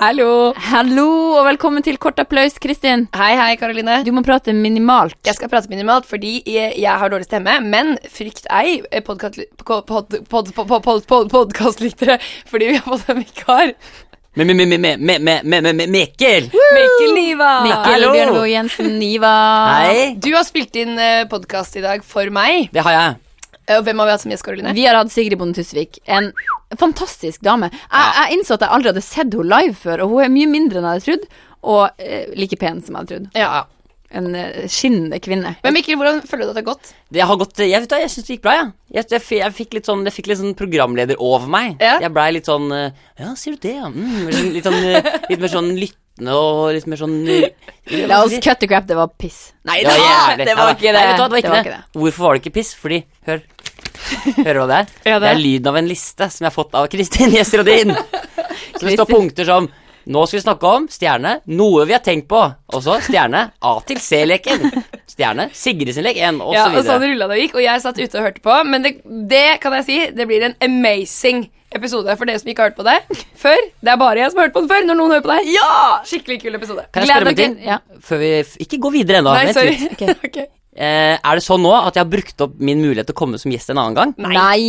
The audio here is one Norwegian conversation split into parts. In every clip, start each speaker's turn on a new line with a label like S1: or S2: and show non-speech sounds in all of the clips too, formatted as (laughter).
S1: Hallo.
S2: Hallo og velkommen til Kort applaus, Kristin.
S1: Hei, hei, Karoline.
S2: Du må prate minimalt.
S1: Jeg skal prate minimalt fordi jeg, jeg har dårlig stemme, men frykt ei, podkastlyttere, pod, pod, pod, pod, pod, podcastlyttere, fordi vi har fått en vikar.
S3: Me-me-me-me-me-me-me-Mikkel!
S1: Mikkel Niva.
S2: Mikkel
S3: Hallo.
S2: Bjørnbo Jensen Niva.
S3: Hei!
S1: Du har spilt inn podkast i dag for meg.
S3: Det har jeg.
S1: Og hvem har vi hatt som gjest, Karoline?
S2: Vi har hatt Sigrid Bonde Tusvik. En fantastisk dame. Jeg, jeg innså at jeg aldri hadde sett henne live før, og hun er mye mindre enn jeg hadde trodd. Og eh, like pen som jeg hadde trodd.
S1: Ja.
S2: En eh, skinnende kvinne.
S1: Men Mikkel, hvordan føler du at det har gått?
S3: Det har gått, jeg vet du hva, jeg syns det gikk bra, jeg. Jeg, jeg, f- jeg fikk litt sånn, jeg fikk litt sånn programleder over meg.
S1: Ja.
S3: Jeg blei litt sånn eh, Ja, sier du det, ja? Mm, litt, sånn, litt, sånn, eh, litt mer sånn lyttende og litt mer sånn eh,
S2: La oss cut the crap, det var piss. Nei
S3: Ja,
S2: da,
S3: jævlig.
S2: det
S3: Ja,
S2: var
S3: da.
S2: ikke det.
S3: Nei, vet du hva, det var ikke det.
S2: ikke det.
S3: Hvorfor var det ikke piss? Fordi, hør Hører du hva det er?
S1: Ja, det
S3: det
S1: er.
S3: er lyden av en liste som jeg har fått av Kristin (laughs) Gjesrodin. Så det står punkter som Nå skal vi snakke om stjerne, noe vi har tenkt på. Og så stjerne A til C-leken. Stjerne Sigrid sin lek 1, og
S1: Ja,
S3: så
S1: og sånn
S3: videre.
S1: rulla det og gikk, og jeg satt ute og hørte på. Men det, det kan jeg si, det blir en amazing episode for dere som ikke har hørt på det før. Det er bare jeg som har hørt på den før. Når noen hører på det, ja! Skikkelig kul episode.
S3: Kan jeg
S2: Gleder
S3: spørre om en
S2: dere-
S3: ting?
S2: ja.
S3: Før vi f- Ikke gå videre ennå.
S1: Nei,
S3: vent
S1: sorry.
S3: litt.
S2: Ok.
S1: (laughs) Ok.
S3: Eh, er det sånn nå at jeg har brukt opp min mulighet til å komme som gjest en annen gang?
S1: Nei.
S2: Nei.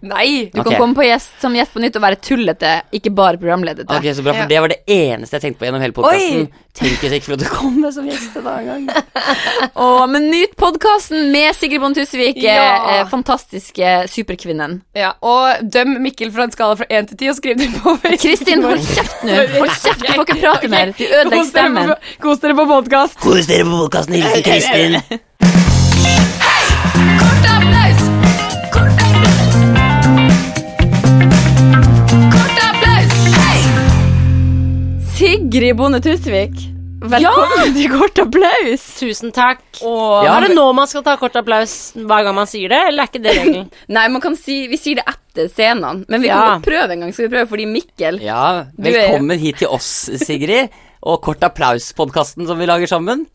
S1: Nei.
S2: Du
S3: Ok.
S2: kan komme på gjest, som gjest på nytt og være tullete, ikke bare programledete.
S3: Ok, så bra, for
S1: Ja.
S3: Det var det eneste jeg tenkte på gjennom hele podkasten. Tenk hvis jeg ikke får lov til å komme som gjest en annen gang.
S2: Å, men nyt podkasten med Sigrid Bonde Tusvik, eh,
S1: Ja.
S2: eh, fantastiske superkvinnen.
S1: Ja, og døm Mikkel fra en skala fra 1 til 10 og skriv det på Facebook.
S2: Kristin, hold
S1: (laughs)
S2: kjeft nå! Hold kjeft, du får ikke prate mer. Du ødelegger
S1: Kos dere
S2: stemmen.
S1: på- Kos dere på podkast.
S3: Kos dere på podkasten. Hilsen Kristin.
S2: Sigrid Bonde Tusvik, velkommen til Kort applaus!
S4: Tusen takk.
S3: Ja,
S4: er det
S3: men-
S4: nå man skal ta kort applaus hver gang man sier det, eller er ikke det (laughs) regelen?
S2: Nei, man kan si, vi sier det etter scenene, men vi kan
S4: Ja.
S2: godt prøve en gang. Skal vi prøve fordi Mikkel
S3: Ja,
S2: er jo-
S3: velkommen hit til oss, Sigrid. Og Kort applaus-podkasten som vi lager sammen.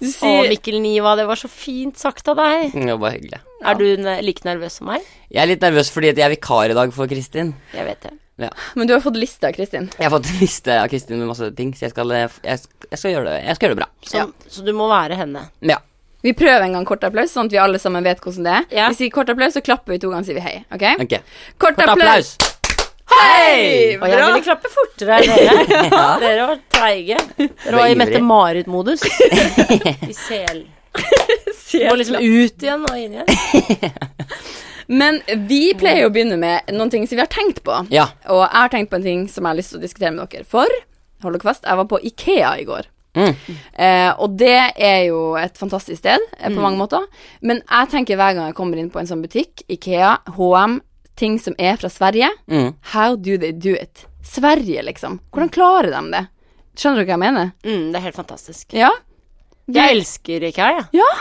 S2: Du
S4: Å,
S2: sier
S4: Mikkel Niva, det var så fint sagt av deg.
S3: Mm, Det var bare hyggelig.
S4: Er du ne- like nervøs som meg?
S3: Jeg er litt nervøs fordi at jeg er vikar i dag for Kristin.
S4: Jeg vet det.
S2: Men du har fått lista, Kristin.
S3: Jeg har fått (laughs) en liste av Kristin med masse ting, så jeg skal, eh, f- jeg, sk- jeg skal, gjøre, det. Jeg skal gjøre det bra.
S4: Så, så du må være henne.
S3: Men ja.
S2: Vi prøver en gang kort applaus, sånn at vi alle sammen vet hvordan det er.
S4: Ja.
S2: Vi sier kort applaus, så klapper vi to ganger og sier vi hei. OK?
S3: Ok.
S2: Kort,
S3: Kort
S2: applaus!
S3: applaus.
S2: Hei!
S4: Og jeg ville klappe fortere enn dere. (laughs) Dere var treige. Dere var i
S3: ivrig.
S4: (laughs) Mette-Marit-modus. I sel. Du må liksom ut igjen og inn igjen.
S2: Men vi pleier jo å begynne med noen ting som vi har tenkt på.
S3: Ja.
S2: Og jeg har tenkt på en ting som jeg har lyst til å diskutere med dere. For hold dere fast, jeg var på Ikea i går.
S3: Mm.
S2: Eh, og det er jo et fantastisk sted eh, på mange måter. Men jeg tenker hver gang jeg kommer inn på en sånn butikk, Ikea, HM, ting som er fra Sverige
S3: Mm.
S2: How do they do it? Sverige, liksom. Hvordan klarer de det? Skjønner dere hva jeg mener?
S4: Mm, det er helt fantastisk.
S2: Ja?
S4: Jeg elsker IKEA, jeg.
S2: Ja.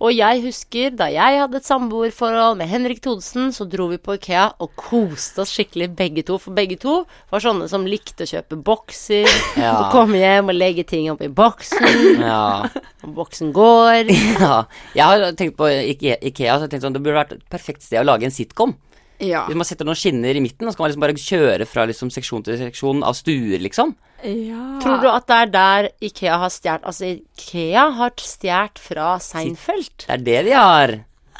S4: Og jeg husker da jeg hadde et samboerforhold med Henrik Thodesen, så dro vi på Ikea og koste oss skikkelig begge to. For begge to var sånne som likte å kjøpe bokser,
S3: (laughs) Ja.
S4: og komme hjem og legge ting opp i boksen,
S3: Ja.
S4: og boksen går.
S3: (laughs) ja. Jeg har tenkt på Ikea, Ikea så jeg tenkte sånn, det burde vært et perfekt sted å lage en sitcom.
S2: Ja.
S3: Hvis man setter noen skinner i midten, og så kan man liksom bare kjøre fra liksom seksjon til seksjon av stuer, liksom.
S4: Tror du at det er der Ikea har stjålet Altså, Ikea har stjålet fra Seinfeld.
S3: Det er det de har.
S2: (laughs)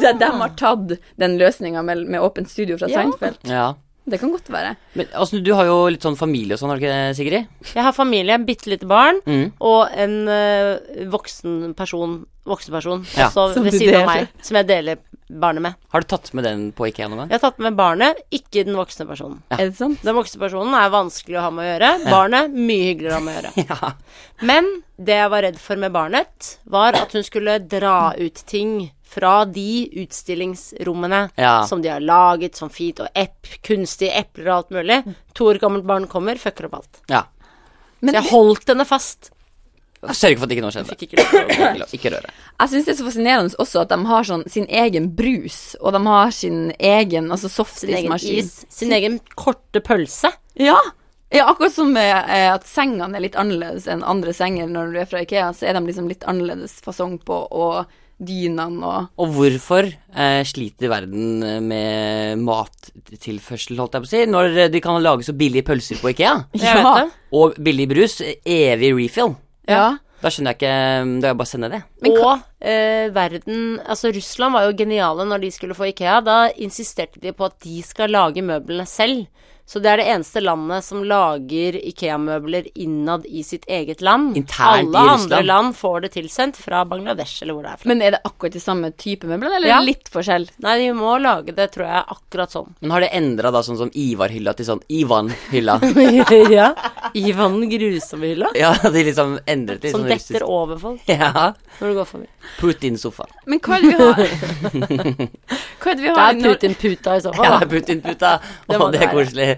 S2: De, de har tatt den løsninga med, med åpent studio fra
S4: Ja.
S2: Seinfeld.
S3: Ja.
S2: Det kan godt være.
S3: Men altså, du har jo litt sånn familie og sånn, har du ikke det, Sigrid?
S4: Jeg har familie, bitte lite barn,
S3: Mm.
S4: og en ø, voksen person, voksen person
S3: Ja.
S4: også
S2: Som
S4: ved
S2: du
S4: siden av
S2: deler.
S4: meg, som jeg deler barnet med.
S3: Har du tatt med den på Ikea noen gang?
S4: Jeg har tatt med barnet, ikke den voksne personen.
S2: Er det sant?
S4: Den voksne personen er vanskelig å ha med å gjøre. Barnet mye hyggeligere å ha med å gjøre.
S3: (laughs) Ja.
S4: Men det jeg var redd for med barnet, var at hun skulle dra ut ting fra de utstillingsrommene
S3: Ja.
S4: som de har laget, som fint, og epp, kunstige epler og alt mulig.
S3: Mm.
S4: To år gammelt barn kommer, fucker opp alt.
S3: ja.
S4: Så jeg holdt henne fast.
S3: Sørg for at ikke noe skjedde.
S4: Fikk ikke lov til å
S3: (coughs) Ikke lov- Ikke røre.
S2: Jeg syns det er så fascinerende også at de har sånn sin egen brus, og de har sin egen altså
S4: Sin egen
S2: softismaskin.
S4: is, sin egen korte pølse.
S2: Ja. ja, akkurat som eh, eh, at sengene er litt annerledes enn andre senger når du er fra Ikea, så er de liksom litt annerledes fasong på, og dynene og
S3: Og hvorfor eh, sliter verden eh, med mattilførsel, holdt jeg på å si, når eh, de kan lage så billige pølser på Ikea?
S4: Jeg vet det.
S3: Og billig brus, eh, evig refill.
S2: Ja.
S3: Da skjønner jeg ikke eh, Da er jeg bare å sende det.
S4: og eh, verden Altså, Russland var jo geniale når de skulle få Ikea. Da insisterte de på at de skal lage møblene selv. Så det er det eneste landet som lager Ikea-møbler innad i sitt eget land.
S3: Internt i
S4: Alle andre
S3: Russland.
S4: land får det tilsendt fra Bangladesh eller hvor det er fra.
S2: Men er det akkurat de samme type møbler, eller
S4: Ja.
S2: litt forskjell?
S4: Nei, de må lage det, tror jeg, akkurat sånn.
S3: Men har det endra da sånn som Ivar-hylla til sånn
S4: (laughs)
S3: Ivan-hylla?
S4: (laughs) ja. Ivan grusomme hylla.
S3: ja, de liksom endret det. i
S4: Som
S3: sånn russisk-
S4: detter over folk
S3: Ja.
S4: når du går forbi.
S3: Putin-sofa.
S2: Men hva er det vi
S4: (laughs)
S2: har? hva er det vi
S4: Det
S2: har?
S4: er
S2: Når,
S4: Putin-puta i
S3: Ja,
S4: så fall. da.
S3: Putin-puta.
S4: Det
S3: Å,
S4: må
S3: det
S4: det
S3: er
S4: være.
S3: koselig.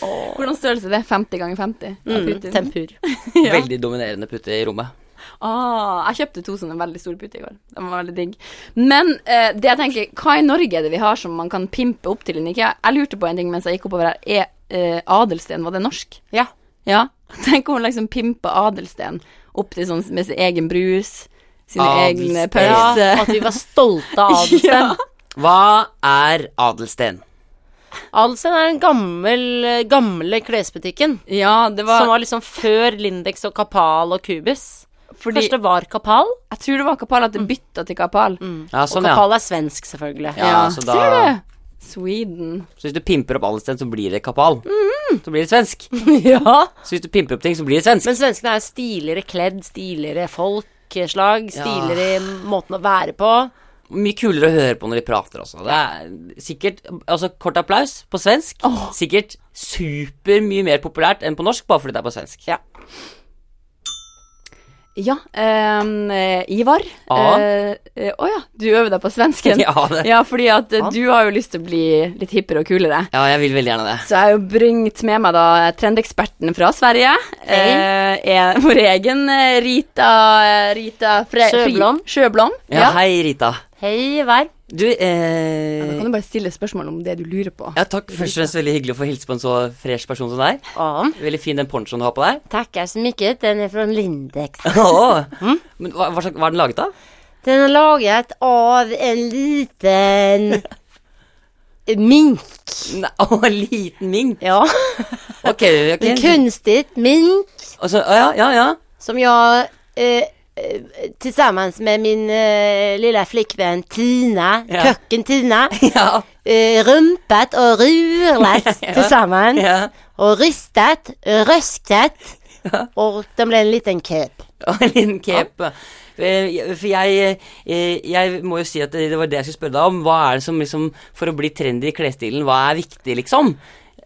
S2: hvordan størrelse er det? 50 ganger 50? av
S4: Mm,
S2: Putin.
S4: tempur.
S2: (laughs)
S3: Veldig dominerende putte i rommet.
S2: Ah, jeg kjøpte to sånne veldig store puter i går. De var veldig digg. Men eh, det jeg tenker, hva i Norge er det vi har som man kan pimpe opp til en IKEA? Jeg lurte på en ting mens jeg gikk oppover her. Er eh, Adelsten, var det norsk?
S4: Ja.
S2: Ja. (laughs) Tenk om hun liksom pimpa Adelsten opp til sånn med sin egen brus, sine
S3: Adelsten.
S2: egne
S4: ja.
S2: pølser.
S4: At vi var stolte (laughs) av Adelsten.
S2: (laughs) Ja.
S3: Hva er Adelsten?
S4: Adelsten er den gammel, gamle klesbutikken.
S2: ja, det var,
S4: Som var liksom før Lindex og Kapal og Kubis.
S2: fordi
S4: Først det var Kapal,
S2: Jeg tror det var Kapal
S4: Mm.
S2: at det bytta til Kapal.
S3: Ja,
S4: og
S3: sånn, ja.
S4: Kapal er svensk, selvfølgelig.
S3: Ja, så da-
S2: Ser du? Sweden.
S3: Så hvis du pimper opp Adelsten, så blir det kapal.
S2: Mhm.
S3: Så blir det svensk.
S4: (laughs) Ja.
S3: Så hvis du pimper opp ting, så blir det svensk.
S4: Men svenskene er jo stiligere kledd, stiligere folkeslag, stiligere i måten å være på.
S3: Mye kulere å høre på når de prater også. Det er sikkert Altså, kort applaus på svensk. Sikkert super mye mer populært enn på norsk, bare fordi det er på svensk.
S4: Ja.
S2: Ja, ehm, eh, Ivar. Å
S3: Ja.
S2: eh, eh, å ja, du øver deg på svensken.
S3: (laughs) (laughs) Ja, det-
S2: ja fordi at eh, du har jo lyst til å bli litt hippere og kulere.
S3: Ja, jeg vil veldig gjerne det.
S2: Så jeg har jo bringt med meg da eh, trendeksperten fra Sverige.
S4: Hei.
S2: Eh, er (laughs) vår egen eh, Rita, eh, Rita Fre Fri-
S4: Sjøblom.
S2: Sjøblom.
S3: Ja, hei, Rita.
S4: Hei, vær.
S3: Du, eh
S2: Da kan du bare stille spørsmål om det du lurer på.
S3: Ja, takk. Først og fremst veldig hyggelig å få hilse på en så fresh person som deg.
S4: Om.
S3: Veldig fin den ponchoen du har på deg.
S4: Takker så mye. Den er fra Lindex.
S3: Åh.
S4: Mm.
S3: Men hva, hva, slags- hva er den laget av?
S4: Den er laget av en liten
S3: (laughs)
S4: mink. (laughs)
S3: Nei, Å, liten mink.
S4: Ja.
S3: Ok, ok.
S4: En kunstig mink.
S3: Altså, ja, ja, (laughs) ja.
S4: Som jag eh, eh, tillsammans med min eh, lilla flickvän Tina,
S3: Ja.
S4: köken Tina,
S3: Ja.
S4: eh, rumpat och rulat tillsammans
S3: (laughs) ja.
S4: och ristat, eh, röskat och det blev en liten cape.
S3: Og en liten cape. Eh, jeg- For jeg, eh, jeg må jo si at det var det jeg skulle spørre deg om. Hva er det som liksom For å bli trendy i klesstilen, hva er viktig, liksom?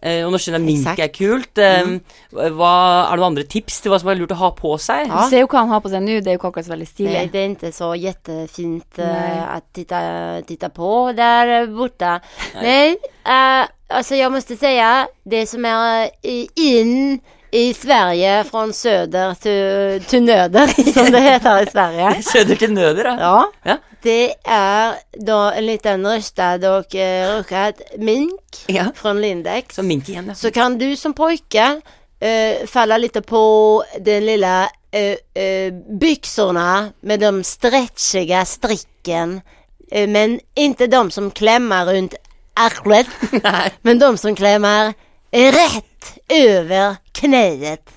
S3: Eh, Og nå skjønner jeg mink er kult. Eh,
S4: Mm.
S3: Hva, er det noen andre tips til hva som er lurt å ha på seg? (laughs)
S2: Du ser jo hva han har på seg nå, det er jo ikke akkurat så veldig stilig.
S4: Nej, det är inte så jättefint eh,
S2: Nej.
S4: att titta, titta på där borta. Nej, eh, alltså jag måste säga det som är eh, i- in i Sverige från söder till, till nöder (laughs) som det heter i Sverige.
S3: Søder til nøder, da.
S4: Ja,
S3: Ja.
S4: det är då en liten röstad och eh, ruckad mink
S3: Ja.
S4: från Lindex.
S3: Så mink igjen, ja.
S4: Så kan du som pojke eh, falla lite på den lilla eh, eh, byxorna med de stretchiga stricken. Eh, men inte de som klämmer runt arslet, men de som klämmer rätt över knäet.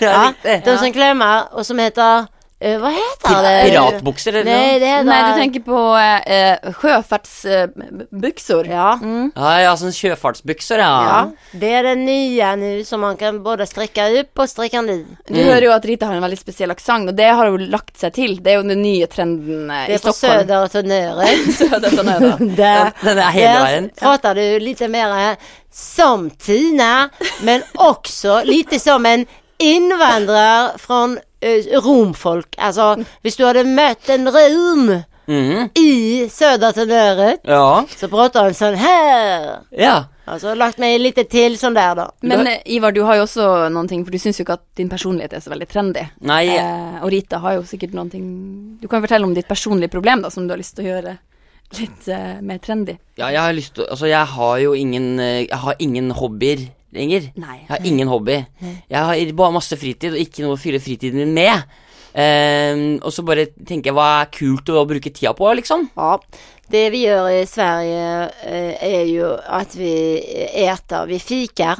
S4: Ja, de som klämmer och som heter, eh, vad heter det?
S3: Piratbukser, eller
S4: Nej,
S3: noe?
S4: det heter...
S2: Nei, du tenker på eh, Mm. sjøfartsbuksor.
S4: Ja.
S3: Ja, ja, sånn sjøfartsbukser, ja.
S4: ja, det är det nya nu som man kan både stricka upp och stricka ner.
S2: Du hører jo at Rita har en veldig spesiell aksent, og det har hun lagt seg til. Det er jo den nye trenden eh,
S4: Det
S2: i
S4: är på (laughs)
S2: Stockholm.
S4: söder och till nöre.
S2: Söder till
S4: (laughs)
S2: Nöre.
S4: Där,
S3: Den är hela vägen.
S4: där pratar du lite mer eh, som Tina, men också lite som en invandrare från eh, romfolk. Alltså, hvis du hade mött en rom
S3: Mhm.
S4: i söder till nöre
S3: Ja.
S4: så pratar han sån här.
S3: ja.
S4: Alltså lagt mig lite till sån där då.
S2: (laughs) Men eh, Ivar, du har jo også noen ting, for du syns jo ikke at din personlighet er så veldig trendy.
S3: Nei,
S2: Eh, og Rita har jo sikkert noen ting Du kan fortelle om ditt personlige problem, da, som du har lyst til å gjøre litt eh, mer trendy.
S3: Ja, jeg har lyst til å- Altså, jeg har jo ingen eh, Jeg har ingen hobbyer lenger.
S2: Nei.
S3: Jeg har ingen hobby. Jeg har bare masse fritid, og ikke noe å fylle fritiden min med. Eh, Ehm, og så bare tenker jeg hva er kult å bruke tida på, liksom.
S4: Ja. Det vi gör i Sverige eh, är ju att vi äter, vi fikar.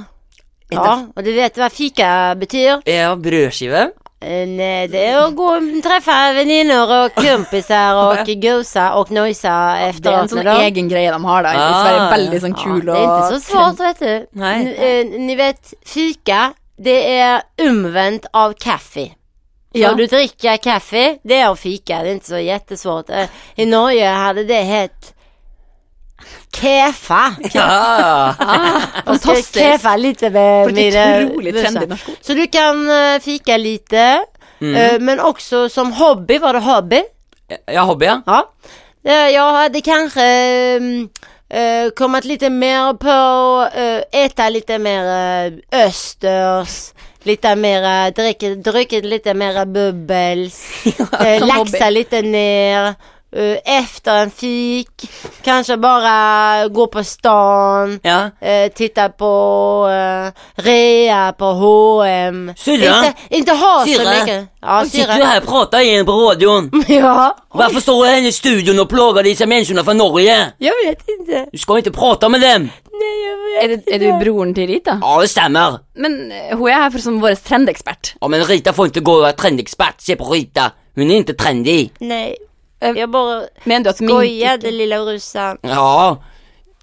S4: Ja, och du vet vad fika betyder?
S3: Ja, brødskive.
S4: Eh, nej, det är att gå och träffa vänner och kompisar
S2: (laughs)
S4: och gosa och nojsa
S2: Det er en
S4: efteråt
S2: sånn
S4: med dem.
S2: egen greie de har da. I
S3: Ah.
S2: Sverige veldig sånn
S4: Ja,
S2: kul
S4: det är inte så svårt vet du.
S3: Nej.
S4: N- eh, Ni vet, fika, det är omvänt av kaffe.
S2: Ja.
S4: Ja. du dricker kaffe, det är att fika, det är inte så jättesvårt. Eh, I Norge hade det hett kefa.
S3: Ja.
S4: Och ska
S2: Fantastiskt.
S4: kefa lite med
S2: For et
S4: mina
S2: utrolig
S4: bussar.
S2: trendy norsk ord.
S4: Så du kan eh, fika lite, eh, men också som hobby, var det hobby?
S3: ja, hobby, ja.
S4: Ja. Eh, Jag hade kanske mm, eh, kommit lite mer på eh, äta lite mer eh, östers, lite mer druckit, druckit lite mer bubbels,
S2: (laughs)
S4: eh,
S2: som
S4: laxa
S2: hobby.
S4: lite ner. eh, Efter en fik, kanske bara gå på stan,
S3: ja.
S4: eh, titta på eh, rea på H&M
S3: Syrra.
S4: Inte, inte ha så
S3: Syrra.
S4: mycket. Ja,
S3: Sitter du här och pratar igen på radion?
S4: Ja,
S3: Varför står du här i studion och plågar dessa människorna från Norge?
S4: jag vet inte.
S3: Du ska inte prata med dem!
S4: Nej, jag vet
S2: Er, det- er du broren til Rita?
S3: Ja, det stämmer.
S2: Men eh, hun er her for som vår trendekspert.
S3: Ja, men Rita får inte gå och vara trendexpert. Se på Rita. Hon är inte trendig.
S4: Nej,
S2: Eh,
S4: jag bara
S2: Mener du at min
S4: skojade lilla rusan.
S3: Ja,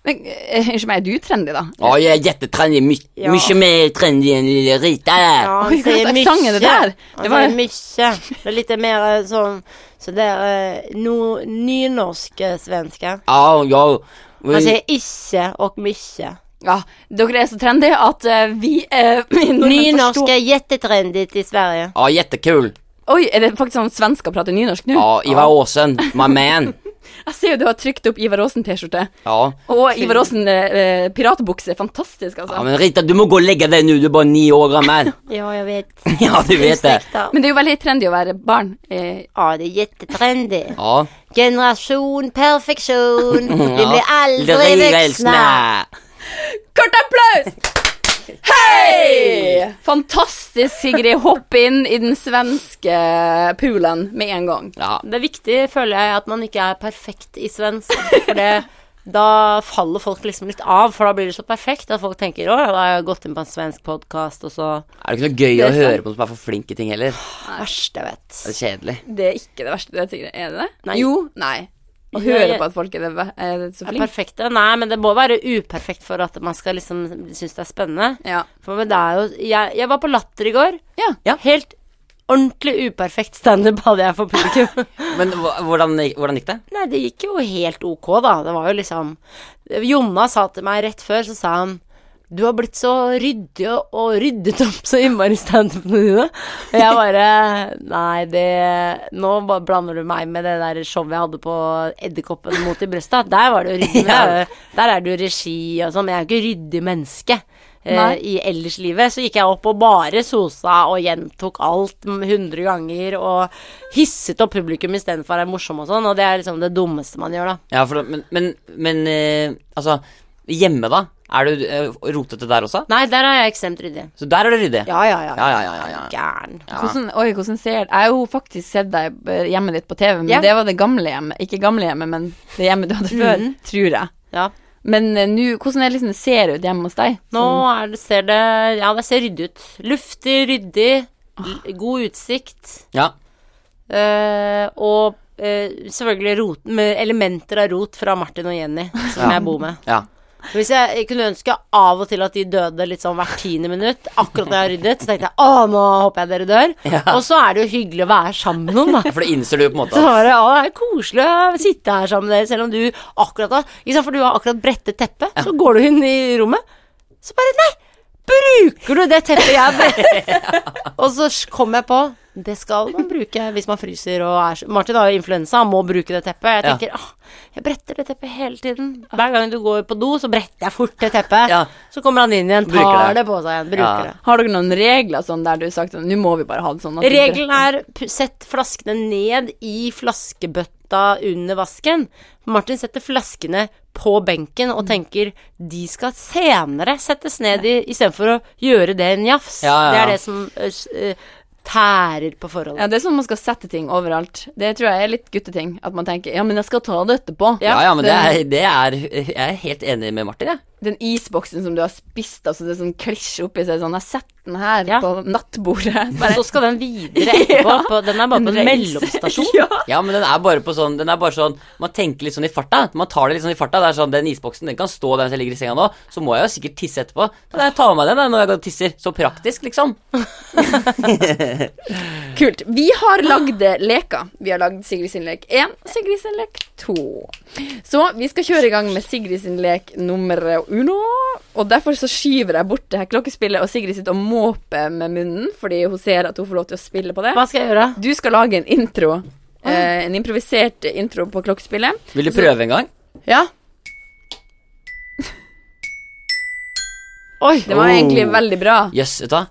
S2: Men, eh, Unnskyld meg, er du trendy, da?
S3: ja jag är jättetrendig. My-
S4: Ja.
S3: Mycket mer trendig än lilla Rita där.
S4: Ja,
S2: Oj, vilken accent är det där?
S4: Han
S2: Det
S4: det
S2: var-
S4: var mysse. Det är lite mer eh, sån, sådär eh, no, nynorsk eh, svenska.
S3: Ja, jag...
S4: Man säger isse och mysse.
S2: Ja, Dere er så trendy at eh, vi eh, (clears throat) vi nordmenn forstår
S4: Nynorska är jättetrendigt i Sverige.
S3: Ja, jättekul.
S2: Oi, er det faktisk sånn at svensker prater nynorsk nå?
S3: Ja, Ivar Åsen, my man.
S2: Jeg ser jo du har trykt opp Ivar Aasen-T-skjorte.
S3: Ja.
S2: Og Ivar Aasen eh, eh, piratbukse. Fantastisk, altså.
S3: ja,
S2: men...
S3: men Rita, du må gå och lägga dig nu. Du är bara nio år gammal.
S4: Ja, jag vet.
S3: (laughs) Ja, du vet det.
S4: Ursäkta.
S2: det er jo veldig trendy å være barn. Eh,
S4: Ja, det är jättetrendigt.
S3: Ja.
S4: Generation perfektion. Vi blir aldrig
S3: Driver
S4: vuxna.
S2: kort applaus! (laughs) Hei! Fantastisk, Sigrid. Hopp inn i den svenske poolen med en gang.
S3: Ja.
S4: Det er viktig, føler jeg, at man ikke er perfekt i svensk. For det, da faller folk liksom litt av, for da blir det så perfekt at folk tenker å, da har jeg gått inn på en svensk podkast, og så
S3: Er det ikke noe gøy
S2: Det
S3: å
S2: er sant.
S3: høre på som er for flink i ting heller?
S4: Æsj, jeg vet.
S3: Det er kjedelig.
S2: Det er ikke det verste. Det er, Sigrid. er det det?
S4: Nei.
S2: Jo. Nei. Å
S4: Nei,
S2: høre
S4: jeg-
S2: på at folk er, det, ve- er så
S4: Er
S2: flinke.
S4: perfekte? Nei, men det må være uperfekt for at man skal liksom synes det er spennende.
S2: Ja.
S4: For men det er jo Jeg, jeg var på Latter i går.
S2: ja.
S4: Helt ordentlig uperfekt standup hadde jeg for publikum.
S3: Men hva- hvordan, hvordan gikk det?
S4: Nei, det gikk jo helt ok, da. Det var jo liksom Jonna sa til meg rett før, så sa han du har blitt så ryddig og, og ryddet opp så innmari i standupene dine. Og jeg bare Nei, det Nå bare blander du meg med det der showet jeg hadde på Edderkoppen mot i brystet. Der var det jo ryddig. men det er jo- Der er det jo regi og sånn, men jeg er jo ikke ryddig menneske.
S2: Nei.
S4: Eh, I ellerslivet så gikk jeg opp og bare sosa og gjentok alt m- 100 ganger og hisset opp publikum istedenfor å være morsom og sånn, og det er liksom det dummeste man gjør, da.
S3: Ja, for, da- men, men, men eh, altså Hjemme, da? Er du eh, rotete der også?
S4: Nei, der er jeg ekstremt ryddig.
S3: Så der er du ryddig?
S4: Ja, ja, ja.
S3: Ja, ja, ja, ja, ja.
S4: Er du Gæren.
S2: Hvordan, oi, hvordan ser Jeg har jo faktisk sett deg eh, hjemmet ditt på TV, men
S4: Ja.
S2: det var det gamle hjemmet. Ikke gamle hjemmet, men det hjemmet du hadde
S3: Mm.
S2: før, tror jeg.
S4: Ja.
S2: Men eh, nå, hvordan er det liksom det ser ut hjemme hos deg?
S4: Nå er det, ser det Ja, det ser ryddig ut. Luftig, ryddig, l- god utsikt.
S3: Ja.
S4: eh, og eh, selvfølgelig rot, med elementer av rot fra Martin og Jenny, som jeg bor med.
S3: ja.
S4: Hvis jeg, jeg kunne ønske av og til at de døde litt sånn hvert tiende minutt, akkurat når jeg har ryddet, så tenkte jeg å, nå håper jeg dere dør.
S3: Ja.
S4: Og så er det jo hyggelig å være sammen med noen, da.
S3: For det innser du jo på en måte.
S4: (laughs) Så var det, å, det er koselig å sitte her sammen med dere, selv om du akkurat da ikke sant, For du har akkurat brettet teppet, så går du inn i rommet, så bare Nei! Bruker du det teppet jeg har brettet?
S3: (laughs)
S4: og så kom jeg på det skal man bruke hvis man fryser og er så Martin har jo influensa, han må bruke det teppet. Jeg
S3: Ja.
S4: tenker åh, jeg bretter det teppet hele tiden. Hver gang du går på do, så bretter jeg fort det teppet.
S3: Ja.
S4: Så kommer han inn igjen, tar
S3: Bruker
S4: det.
S3: det.
S4: på seg igjen,
S3: Ja.
S4: bruker det.
S2: Har dere noen regler sånn der du har sagt sånn Nå må vi bare ha det sånn. at du-
S4: Regelen er p- sett flaskene ned i flaskebøtta under vasken. Martin setter flaskene på benken
S3: Mm.
S4: og tenker de skal senere settes ned i istedenfor å gjøre det en jafs.
S3: Ja, ja,
S4: Det
S3: ja.
S4: er det som ø, s- ø, tærer på forholdet.
S2: Ja, det er sånn man skal sette ting overalt. Det tror jeg er litt gutteting. At man tenker ja, men jeg skal ta det etterpå.
S3: Ja, ja, men det
S2: den,
S3: er, det er Jeg er helt enig med Martin, jeg.
S2: Den isboksen som du har spist av, så det er sånn klisj oppi, så er det sånn Jeg setter den her
S4: Ja.
S2: på nattbordet. Bare,
S4: Så skal den videre etterpå.
S2: (laughs) Ja.
S4: På, den er bare på en
S2: reis.
S4: mellomstasjon.
S2: (laughs) ja.
S3: Ja, men den er bare på sånn Den er bare sånn Man tenker litt sånn i farta. Man tar det litt sånn i farta. Det er sånn, Den isboksen den kan stå der hvis jeg ligger i senga nå, så må jeg jo sikkert tisse etterpå. Da kan jeg ta med meg den da, når jeg går og tisser. Så praktisk, liksom.
S2: Kult. Vi har lagd leker. Vi har lagd Sigrid sin lek 1 og Sigrid sin lek 2. Så vi skal kjøre i gang med Sigrid sin lek nummer uno. Og derfor så skyver jeg bort det her klokkespillet, og Sigrid sitter og måper med munnen fordi hun ser at hun får lov til å spille på det.
S4: Hva skal jeg gjøre?
S2: Du skal lage en intro. Eh, en improvisert intro på klokkespillet.
S3: Vil du prøve en gang?
S2: Ja. Oi, det var
S4: Oh.
S2: egentlig veldig bra.
S3: Jøss, vet du hva.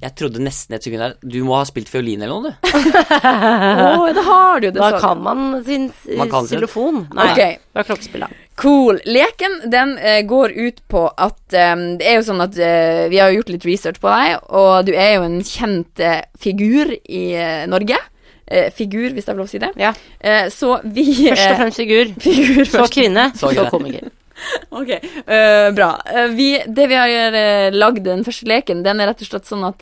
S3: Jeg trodde nesten et sekund der Du må ha spilt fiolin eller noe, du.
S2: Å, da har du det
S4: Hva
S2: sånn.
S4: kan man sin
S3: Man kan sin.
S4: xylofon? Nei,
S2: Ok.
S4: hva er klokkespill,
S2: (laughs)
S4: da?
S2: Cool. Leken den eh, går ut på at eh, Det er jo sånn at eh, vi har jo gjort litt research på deg, og du er jo en kjent eh, figur i eh, Norge. Eh, figur, hvis jeg får lov å si det.
S4: Ja.
S2: Eh, så vi
S4: Først og
S2: eh,
S4: fremst figur.
S2: (laughs) Figur
S4: Så
S2: først.
S4: kvinne,
S3: Så
S4: så,
S3: kvinne.
S4: komiker.
S2: Ok, eh, bra. Eh, vi, det vi har eh, lagd den første leken, den er rett og slett sånn at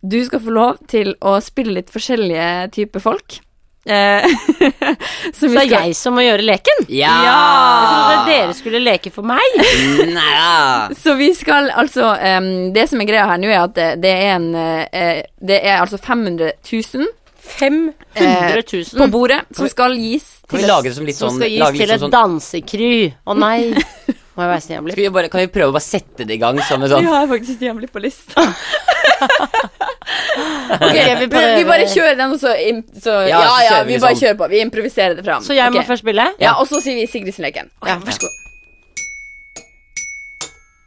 S2: du skal få lov til å spille litt forskjellige typer folk. Eh, (laughs) så
S4: Så det er jeg som må gjøre leken? Jeg trodde dere skulle leke for meg.
S3: Mm, Nei, ja.
S2: Så vi skal altså em, Det som er greia her nå, er at det, det er en eh, Det er altså 500 000
S4: 100
S2: på
S4: 000
S2: bordet som skal gis
S3: Kan vi lage det som litt
S4: som
S3: sånn
S4: skal
S3: lage litt
S4: gis til
S3: som
S4: et
S3: sånn-
S4: dansekry. Å nei. Må jeg være snill og bli?
S3: Skal vi bare, kan vi prøve å bare sette det i gang som en
S2: Vi
S3: (laughs) sånn
S2: har faktisk jævlig på lista. (laughs) ok,
S4: vi
S2: vi,
S4: prøver.
S2: vi bare kjører den, og så, im- så
S3: Ja,
S2: ja, ja,
S3: så kjører vi
S2: vi bare
S3: sånn.
S2: kjører på. Vi improviserer det fram.
S4: Så jeg må
S2: Ok.
S4: først spille?
S2: Ja, og så sier vi Sigridsen-leken. Ok,
S4: Ja.
S2: vær så god.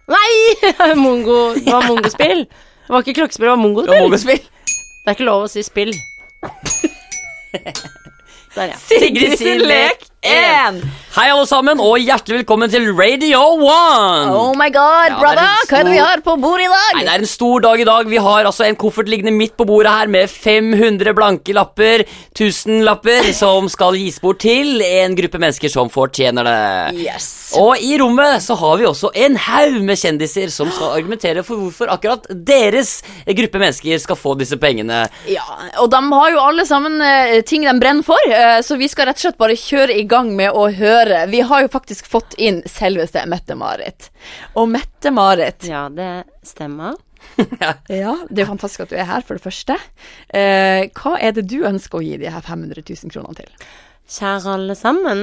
S4: Nei! (laughs) Mongo. Det var mongospill. Det var ikke klokkespill, det var mongospill.
S3: mongospill?
S4: Det er ikke lov å si
S3: (laughs)
S4: spill. Der, ja.
S2: Sigridsen lek 1!
S3: Hei, alle sammen, og hjertelig velkommen til Radio One!
S2: Oh my god,
S3: Ja, det er en
S2: brother! Hva er det vi
S3: stor-
S2: har på bordet i dag?
S3: Nei, det er en stor dag i dag. Vi har altså en koffert liggende midt på bordet her med 500 blanke lapper, 1000 lapper, som skal gis bort til en gruppe mennesker som fortjener det.
S2: Yes.
S3: Og i rommet så har vi også en haug med kjendiser som skal
S4: (gasps)
S3: argumentere for hvorfor akkurat deres gruppe mennesker skal få disse pengene.
S2: Ja, og de har jo alle sammen eh, ting de brenner for, eh, så vi skal rett og slett bare kjøre i gang med å høre. Vi har jo faktisk fått inn selveste Mette-Marit. Og Mette-Marit
S4: ja, det stemmer.
S2: Ja, det er jo fantastisk at du er her, for det første. Eh, hva er det du ønsker å gi de her 500 000 kronene til?
S4: Kjære alle sammen.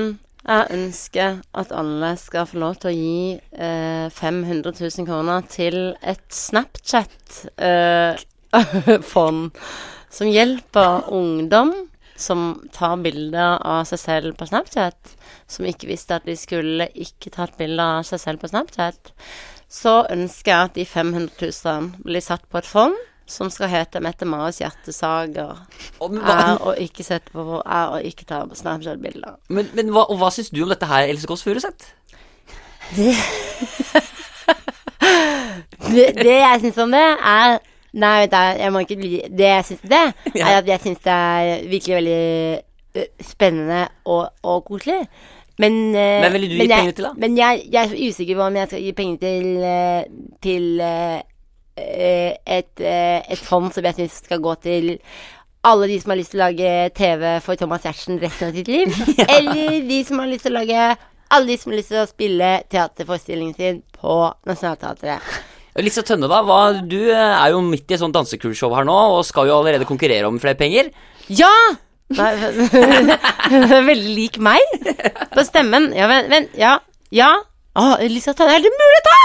S4: Jeg ønsker at alle skal få lov til å gi eh, 500 000 kroner til et (laughs) Snapchat-fond som hjelper ungdom som tar bilder av seg selv på Snapchat, som ikke visste at de skulle ikke tatt bilder av seg selv på Snapchat. Så ønsker jeg at de 500 000 blir satt på et fond som skal hete Mette-Marits hjertesager.
S3: Og, men, hva,
S4: Er å ikke sette på Er å ikke ta Snapchat-bilder.
S3: men, men hva, og hva syns du om dette her, Else Kåss Furuseth?
S4: Det, det jeg syns om det, er Nei, vet du, jeg må ikke bli Det jeg syns om
S3: (laughs)
S4: det, er at jeg syns det er virkelig veldig ø, spennende og, og koselig. Men eh,
S3: Hvem ville du gitt
S4: men jeg,
S3: penger til, da?
S4: Men jeg, jeg er så usikker på om jeg skal gi penger til eh, Til eh, eh, et, eh, et fond som jeg syns skal gå til alle de som har lyst til å lage TV for Thomas Giertsen resten av sitt
S3: (laughs)
S4: liv. Eller de som har lyst til å lage Alle de som har lyst til å spille teaterforestillingen sin på Nationaltheatret.
S3: Lise Tønne, da. Hva, du er jo midt i et sånt dansecrew-show her nå, og skal jo allerede konkurrere om flere penger.
S4: Ja! Nei, (laughs) Veldig lik meg på stemmen. Ja, vent, vent ja. Ja. Å, Lisa Tønne, er det mulig å ta?!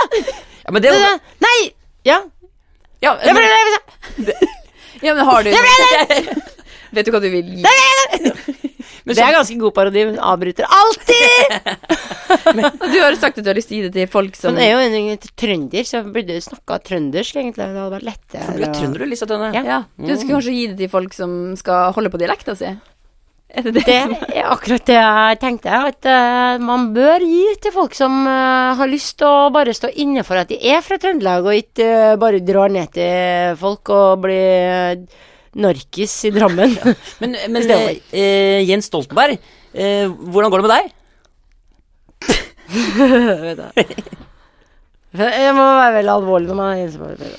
S3: Ja, men det,
S4: Nei! Ja.
S3: ja,
S4: Jeg ble, jeg ble,
S2: Ja, men har du (laughs) Vet du hva du vil gi?
S3: men
S4: Det
S3: så-
S4: er ganske god parodi. Hun avbryter alltid!
S3: (laughs)
S2: Du har jo sagt at du har lyst til å gi det til folk som
S4: Hun er jo en trønder, så jeg burde snakka trøndersk, egentlig. Det hadde vært lettere.
S3: Du er
S4: å-
S3: trønder, du, Lise Tønne.
S4: Ja.
S2: Ja, du skal kanskje gi det til folk som skal holde på dialekta si? Er det det?
S4: (laughs) Det
S2: som-
S4: er akkurat det jeg tenkte. At eh, man bør gi til folk som eh, har lyst til å bare stå inne for at de er fra Trøndelag, og ikke eh, bare drar ned til folk og blir narkis i (laughs) Drammen.
S3: Men, men eh, eh, Jens Stoltenberg, eh, hvordan går det med deg?
S4: Jeg må være veldig alvorlig når man er ensom.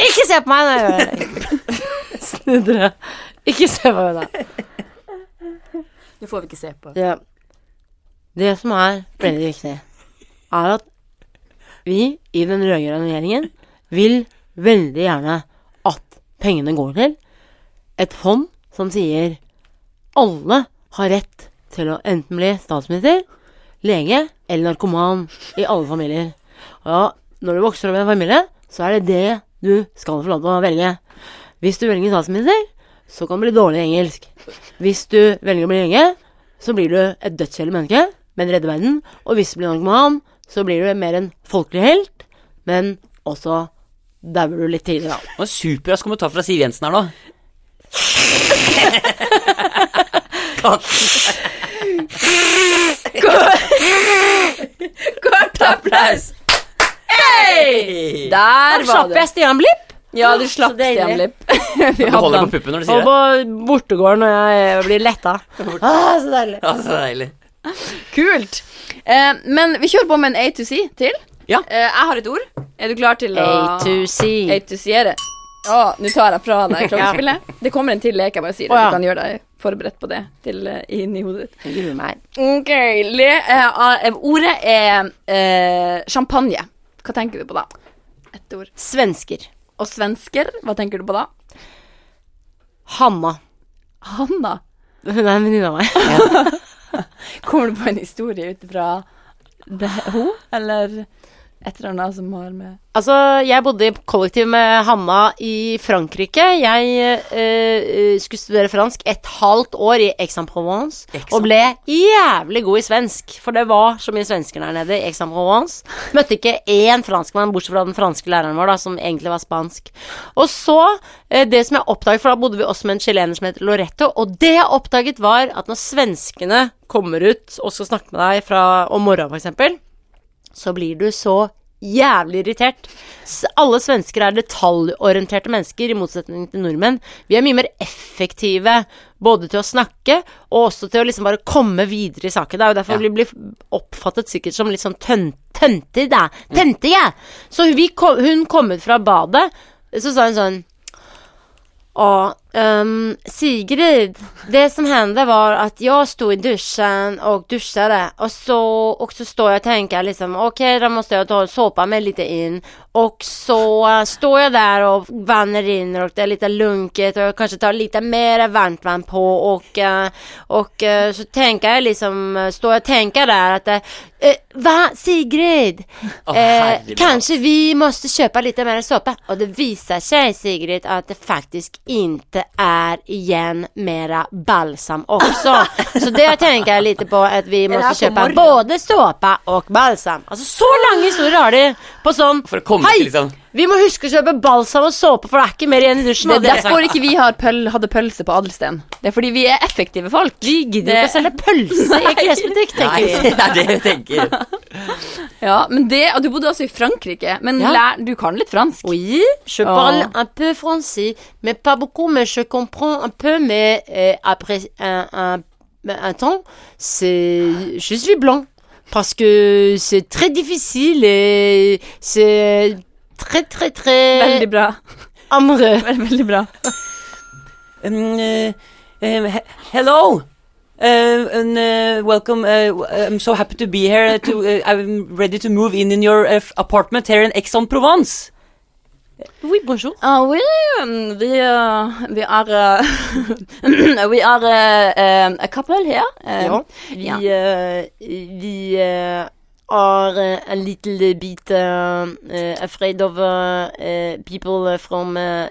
S4: Ikke se på meg når jeg gjør det. (laughs) Snu dere. Ikke se på meg da.
S2: Nå får vi ikke se på.
S4: Det, det som er veldig viktig, er at vi i den rød-grønne regjeringen vil veldig gjerne at pengene går til et fond som sier alle har rett til å enten bli statsminister, lege eller narkoman i alle familier. Og ja, når du vokser opp i en familie, så er det det du skal få lov til å velge. Hvis du velger statsminister, så kan du bli dårlig i engelsk. Hvis du velger å bli lege, så blir du et dødskjedelig menneske, men redder verden. Og hvis du blir narkoman, så blir du mer en folkelig helt, men også dauer du litt tidligere. da.
S3: Og en superrask kommentar fra Siv Jensen her
S4: (laughs)
S3: nå. (laughs)
S2: Kort (laughs) applaus! Der var
S4: Slapp
S2: det.
S4: jeg Stian Blipp?
S2: Ja, du slapp
S4: Så
S2: (laughs)
S4: deilig.
S2: Stianlipp.
S3: Du holder på puppen når du
S4: Og
S3: sier det.
S4: på bortegården når jeg blir letta. Ah, så deilig.
S3: Ja, så deilig.
S2: Kult. Eh, men vi kjører på med en A to C til.
S3: Ja.
S2: Eh, jeg har et ord. Er du klar til å A
S4: A2C.
S2: to C-ere? Å, nå tar jeg fra
S3: (laughs)
S2: deg klokkespillet. Det kommer en til lek, jeg bare sier det.
S4: Å, ja.
S2: Du kan gjøre deg forberedt på det til, eh, inn i hodet ditt.
S4: Gruer meg.
S2: Ok, le, eh, eh, Ordet er eh, champagne. Hva tenker du på da? Ett ord.
S4: Svensker.
S2: Og svensker, hva tenker du på da?
S4: Hanna.
S2: Hanna.
S4: Hun er en venninne av meg.
S2: Kommer du på en historie ut ifra henne, eller et eller annet som har med
S4: Altså, jeg bodde i kollektiv med Hanna i Frankrike. Jeg eh, eh, skulle studere fransk et halvt år i Aix-en-Provence. Og ble jævlig god i svensk, for det var så mye svensker der nede i Aix-en-Provence. Møtte ikke én franskmann, bortsett fra den franske læreren vår, da, som egentlig var spansk. Og så, eh, det som jeg oppdaget, for da bodde vi også med en chilener som het Loretto, og det jeg oppdaget, var at når svenskene kommer ut og skal snakke med deg fra, om morgenen, for eksempel, så blir du så jævlig irritert. S- Alle svensker er detaljorienterte mennesker, i motsetning til nordmenn. Vi er mye mer effektive både til å snakke og også til å liksom bare komme videre i saken. Det er jo derfor
S3: Ja.
S4: vi blir oppfattet sikkert som litt sånn tøn- tønter, da. Tønte, ja! Så vi kom, hun kom ut fra badet, så sa hun sånn Ja, ehm, Sigrid, det som hände var att jag stod i duschen och duschade och så, och så står jag och tänker liksom okej då måste jag ta och såpa mig lite in och så eh, står jag där och vattnet rinner och det är lite lunket och jag kanske tar lite mer varmt vatten på och, eh, och eh, så tänker jag liksom, eh, står jag och tänker där att eh, eh, va Sigrid,
S3: Åh,
S4: eh,
S3: herregud.
S4: kanske vi måste köpa lite mer såpa och det visar sig Sigrid att det faktiskt inte är igen mera balsam också. så det jag tänker lite på att vi
S2: här
S4: måste
S2: på
S4: köpa
S2: morgonen?
S4: både såpa och balsam. Alltså så långa historier har de på sån
S3: For å komme
S4: Hei!
S3: til liksom
S4: Vi må huske å kjøpe balsam og såpe, for det er ikke mer igjen i dusjen.
S2: Det er
S4: og det-
S2: derfor ikke vi har pøl, hadde pølse på Adelsten. Det er fordi vi er effektive folk.
S4: Vi gidder jo ikke å selge pølse
S2: (laughs)
S4: i klesbutikk,
S3: Nei, (laughs)
S4: tenker vi.
S3: det er det jeg tenker.
S2: Ja, men det, og Du bodde også i Frankrike, men
S4: Ja.
S2: lær, du kan litt fransk.
S4: Oui, je parle un peu français, mais pas beaucoup, mais je comprends un peu, mais euh, après un, un, ben, un temps, c'est, je suis blanc. Parce que c'est très difficile et c'est très, très, très
S2: Veldig bra.
S4: (laughs) amoureux.
S2: Veldig, veldig bra.
S3: Um, eh, um, he- hello. Uh, and, uh, welcome. Uh, w- I'm so happy to be here. To, uh, I'm ready to move in in your uh, f- apartment here in Aix-en-Provence.
S4: Oui, bonjour.
S2: Ah, oui, um, vi, uh, (laughs) vi er uh, We are uh, um, a couple here. Um,
S4: Vi,
S2: Ja.
S4: eh, vi eh, are eh, a little bit eh, eh, afraid of eh, eh, people eh, from eh,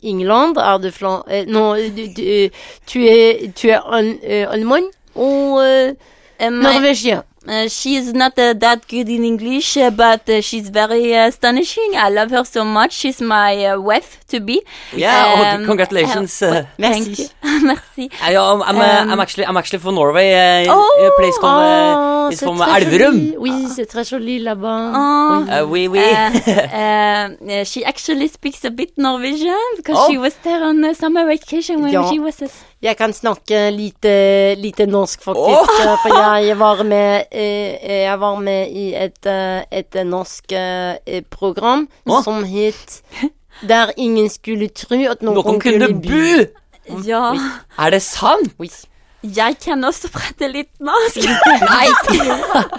S4: England. Are the flan eh, non, eh, du, du, eh, tu es, tu es en, eh, allemand euh, ou eh,
S2: um,
S4: norvégien.
S2: Uh, she's not uh, that good in English, uh, but uh, she's very uh, astonishing. I love her so much. She's my uh, wife to be. (laughs)
S3: Yeah,
S2: Um,
S3: oh, congratulations. Uh,
S2: Thank you. Merci.
S3: I, I'm, I'm, uh, I'm actually, I'm actually from Norway. Uh,
S2: Oh,
S3: a place called, uh,
S4: Ah,
S3: it's
S4: c'est
S3: from
S4: très
S3: Elverum.
S4: joli. Oui, c'est très joli là-bas.
S2: Oh.
S3: Uh, we, we. (laughs)
S2: Uh, uh, she actually speaks a bit Norwegian because
S3: Oh.
S2: she was there on a summer vacation when
S4: Ja.
S2: she was a
S4: Jeg kan snakke lite, lite norsk, faktisk. For jeg var med, eh, jeg var med i et, eh, et norsk eh, program
S3: Å?
S4: som het Der ingen skulle tro at noen,
S3: Noen kunne
S4: (laughs)
S3: bu!
S2: Ja.
S3: Er det sant?
S4: Oui.
S2: Jeg kan også prate litt
S4: (laughs)
S2: norsk.
S3: Nei!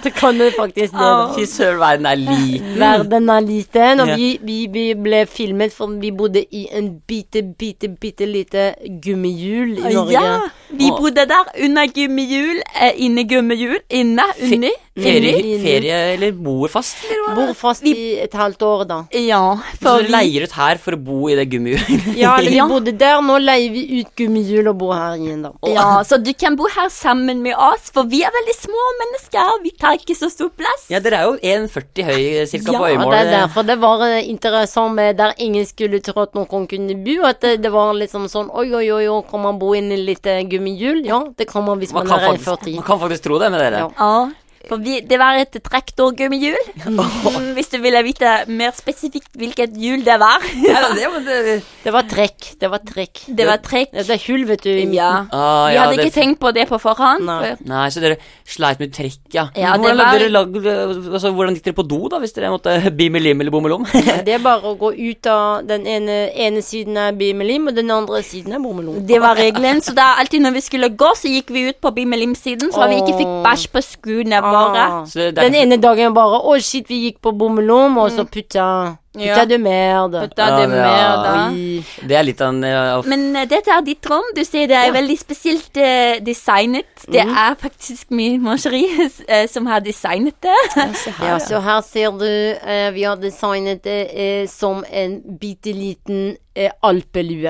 S4: Det kan du faktisk det. da.
S3: Fy søren, verden er liten.
S4: Verden er liten, og
S3: Ja.
S4: vi, vi, vi ble filmet, for vi bodde i en bitte, bitte, bitte lite gummihjul i Norge.
S2: Ja, vi
S3: Og-
S2: bodde der under gummihjul, eh, inne gummihjul, inne, unni,
S3: Ferie,
S2: inni.
S4: Inni.
S3: ferie eller bor fast? Eller?
S4: Bor fast i et halvt år, da.
S2: Ja,
S3: Så
S2: for
S3: du
S2: vi,
S3: leier ut her for å bo i det
S2: (laughs)
S3: gummihjulet? (laughs)
S4: Ja, eller vi
S2: Ja.
S4: bodde der, nå leier vi ut gummihjul og bor her igjen, da.
S2: ja, så du kan bo her sammen med oss, for vi er veldig små mennesker, vi tar ikke så stor plass.
S3: Ja, dere er jo 1,40 høy
S2: Ja,
S3: cirka på
S4: Ja, det er
S3: øyemålet.
S4: derfor det var eh, interessant med der ingen skulle tro at noen kunne bo. At det, det var liksom sånn oi, oi, oi, oi, kan man bo inne i litt eh, gummihjul? Ja, det kan man hvis
S3: man,
S4: man,
S3: kan
S4: er
S3: faktisk,
S4: 1,40.
S3: man kan faktisk tro det med dere.
S4: Ja.
S2: Ja, for vi, det var et traktorgummihjul. Mm, Hvis du ville vite mer spesifikt hvilket hjul det var.
S3: det,
S4: Det var trekk. Det var trekk.
S2: (laughs) Det var trekk.
S4: Ja, Det er hull, vet du. i midten. (laughs)
S2: Ja.
S3: ah,
S2: Vi
S3: ja,
S2: hadde
S3: det,
S2: ikke tenkt på det på forhånd.
S4: Nei.
S3: Nei, så dere sleit med trekk, ja.
S2: Ja, det
S3: hvordan,
S2: var-
S3: dere lag, altså, hvordan gikk dere på do, da, hvis dere måtte (laughs) bimmelim eller bommelom?
S4: Det er bare å gå ut av den ene, ene siden er bimelim, og den andre siden er bommelom.
S2: Det var regelen, så da alltid når vi skulle gå, så gikk vi ut på Bimmelim-siden, så vi ikke fikk bæsj på skoene våre.
S4: Ah.
S3: Så det er
S4: Den ene dagen bare Å, shit, vi gikk på bommelom, og så putta Putta
S2: Ja.
S4: du merde.
S2: Da er det
S3: Ja, det er-
S2: mer, da.
S4: Oi.
S3: Det er litt av en eh, av-
S2: Men eh, dette er ditt rom. Du ser det er veldig spesielt eh, designet. Det er faktisk min mangeri eh, som har designet det.
S4: Ja, så her ser du eh, vi har designet det eh, som en bitte liten eh, alpelue.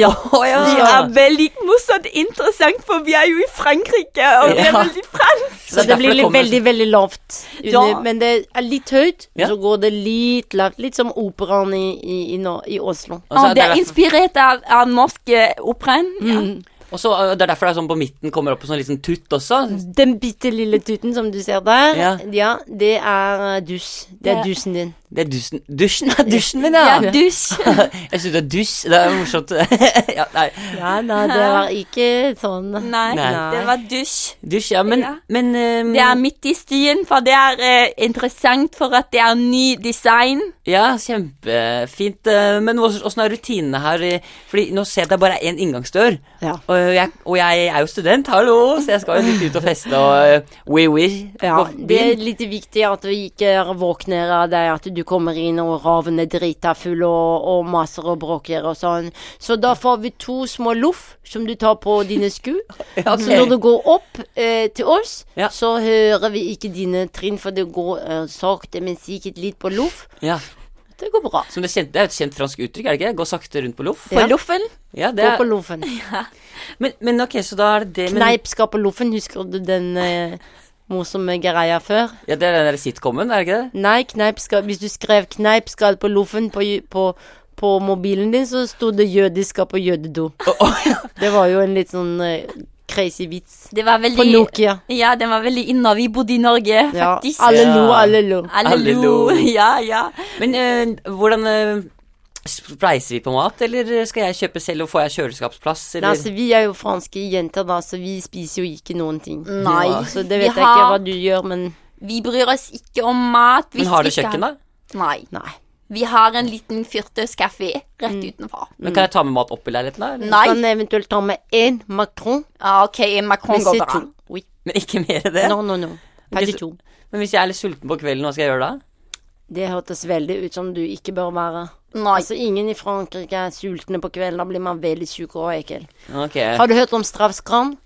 S2: Ja, ja. Det
S4: Ja.
S2: er veldig morsomt interessant, for vi er jo i Frankrike, og vi er
S3: Ja.
S2: veldig fransk.
S4: Så det sånn.
S3: derfor
S4: blir litt,
S3: kommer-
S4: veldig, veldig lavt. Under,
S2: Ja.
S4: Men det er litt høyt,
S3: Ja.
S4: så går det litt lavt. Litt som operaen i, i, i, Nå- i Oslo.
S3: Og så altså,
S2: Og Ah, det er
S3: derfor-
S2: inspirert av, av norsk eh, opera.
S4: Mm.
S2: Ja.
S3: Og så eh, det er derfor det er sånn på midten kommer opp en sånn liten tutt også.
S4: Den bitte lille tuten som du ser der, ja,
S3: Ja.
S4: det er eh, dusj. Det er
S2: Det-
S4: dusjen din.
S3: Det er dusjen Dusjen er dusjen min,
S2: Ja,
S3: ja!
S2: dusj.
S3: (laughs) Jeg synes det er dusj. Det er morsomt. (laughs) ja, nei.
S4: Ja, nei, det var (laughs) ikke sånn.
S2: Nei,
S3: Nei.
S2: det var dusj.
S3: Dusj, ja, men,
S2: Ja.
S3: men ehm,
S2: Det er midt i stien, for det er eh, interessant for at det er ny design.
S3: Ja, kjempefint. eh, Men hvordan hvordan er rutinene her? eh, Fordi nå ser jeg at det bare er én inngangsdør.
S4: Ja.
S3: Og, jeg, og jeg er jo student, hallo, så jeg skal jo litt ut og feste og eh, we-we.
S4: Ja, det (laughs) er litt viktig at vi ikke våkner av det at du kommer inn og ravene drita full og, og maser og bråker og sånn. Så da får vi to små loff som du tar på dine
S3: (laughs)
S4: sko. Så når du går opp eh, til oss,
S3: Ja.
S4: så hører vi ikke dine trinn, for det går eh, sakte, men sikkert litt på loff.
S3: ja.
S4: Det går bra.
S3: Som det, kjente, det er et kjent fransk uttrykk, er det ikke? Gå sakte rundt på loff.
S2: På
S4: Ja.
S2: loffen.
S3: Ja, det
S4: Gå på
S3: er,
S4: loffen.
S3: (laughs) men, men ok, så da er det det men,
S4: Kneip skal på loffen, husker du den eh, morsomme greia før?
S3: Ja, det er den der sitcomen, er det ikke det?
S4: Nei, kneip skal Hvis du skrev 'kneip skal på loffen' på, ju- på, på mobilen din, så sto det 'jødisk skal på
S2: (laughs)
S4: jødedo'. Det var jo en litt sånn eh, crazy vits.
S2: Det var
S4: På
S2: veldig
S4: Nokia.
S2: Ja, den var veldig inne. Vi bodde i Norge,
S4: Ja.
S2: faktisk.
S4: Alle
S3: Ja.
S4: lo, alle lo.
S2: Alle
S3: Alle
S2: lo.
S3: lo.
S2: (laughs) Ja, ja.
S3: Men eh, hvordan eh, Spleiser vi på mat, eller skal jeg kjøpe selv, og får jeg kjøleskapsplass,
S4: Nei,
S3: eller
S4: altså, vi er jo franske jenter, da, så vi spiser jo ikke noen ting.
S2: Nei.
S4: Så det
S2: Vi
S4: vet jeg ikke
S2: har-
S4: hva du gjør, men
S2: Vi bryr oss ikke om mat.
S3: Men har du kjøkken, da?
S2: Nei.
S4: nei.
S2: Vi har en liten firtøskafé rett utenfor.
S3: Men
S4: Mm.
S3: Kan jeg ta med mat opp i leiligheten, da? eller?
S4: Du
S2: Nei.
S4: kan eventuelt ta med én macron.
S2: Ah, OK, makron
S4: Hvis
S2: går
S4: det
S2: bra.
S4: to. Oui.
S3: Men ikke mer enn det?
S4: No, no, no.
S3: Ok,
S4: Ikke
S3: så-
S4: to.
S3: Men hvis jeg er litt sulten på kvelden, hva skal jeg gjøre da?
S4: Det hørtes veldig ut som du ikke bør være.
S2: Nei.
S4: Altså, ingen i Frankrike er sultne på kvelden. Da blir man veldig syk og ekkel.
S3: Ok.
S4: Har du hørt om straffskran?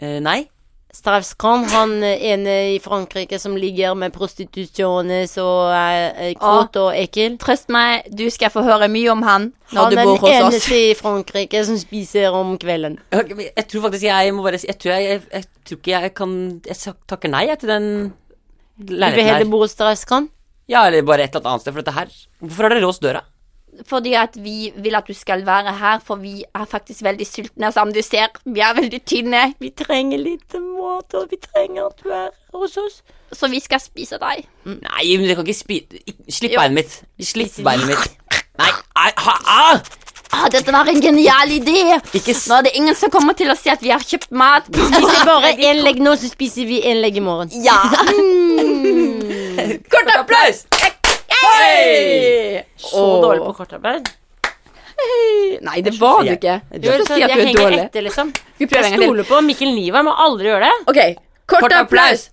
S3: Eh, nei?
S4: Strafskram, han eh, ene i Frankrike som ligger med prostitusjoner så eh, eh,
S2: Ah.
S4: kåt og ekkel.
S2: Trøst meg, du skal få høre mye om han når
S4: Han
S2: du
S4: er
S2: bor
S4: den
S2: hos oss.
S4: eneste i Frankrike som spiser om kvelden.
S3: Ok, men Jeg tror faktisk jeg må bare si Jeg tror, jeg, jeg, jeg tror ikke jeg kan Jeg sa- takker nei jeg, til den
S4: Du vil heller
S3: leiligheten her.
S4: bo hos Strafskram?
S3: Ja, eller bare et eller annet annet sted, for dette her Hvorfor har dere låst døra?
S2: Fordi at vi vil at du skal være her, for vi er faktisk veldig sultne. Som du ser, vi er veldig tynne,
S4: Vi trenger litt mat, og vi trenger at du er hos oss.
S2: så vi skal spise deg.
S3: Nei, men dere kan ikke spi... ikke- Slipp
S2: Mm. Jo.
S3: beinet mitt. Slipp beinet mitt. Nei, ai, ha, ah!
S2: Ah, dette var en genial idé!
S3: Ikke s...
S2: Nå er det ingen som kommer til å si at vi har kjøpt
S3: (laughs)
S2: mat. (laughs)
S4: Spiser bare én legg nå, så spiser vi én legg i morgen.
S2: Ja.
S3: Kort applaus! Hei!
S2: Så dårlig på
S4: kortarbeid.
S2: Nei, det var du ikke. Du skal si at du er dårlig.
S4: sånn, Etter, liksom.
S2: Skal vi prøve en gang til?
S4: på Mikkel Niva, må aldri gjøre det.
S2: OK. Kort applaus.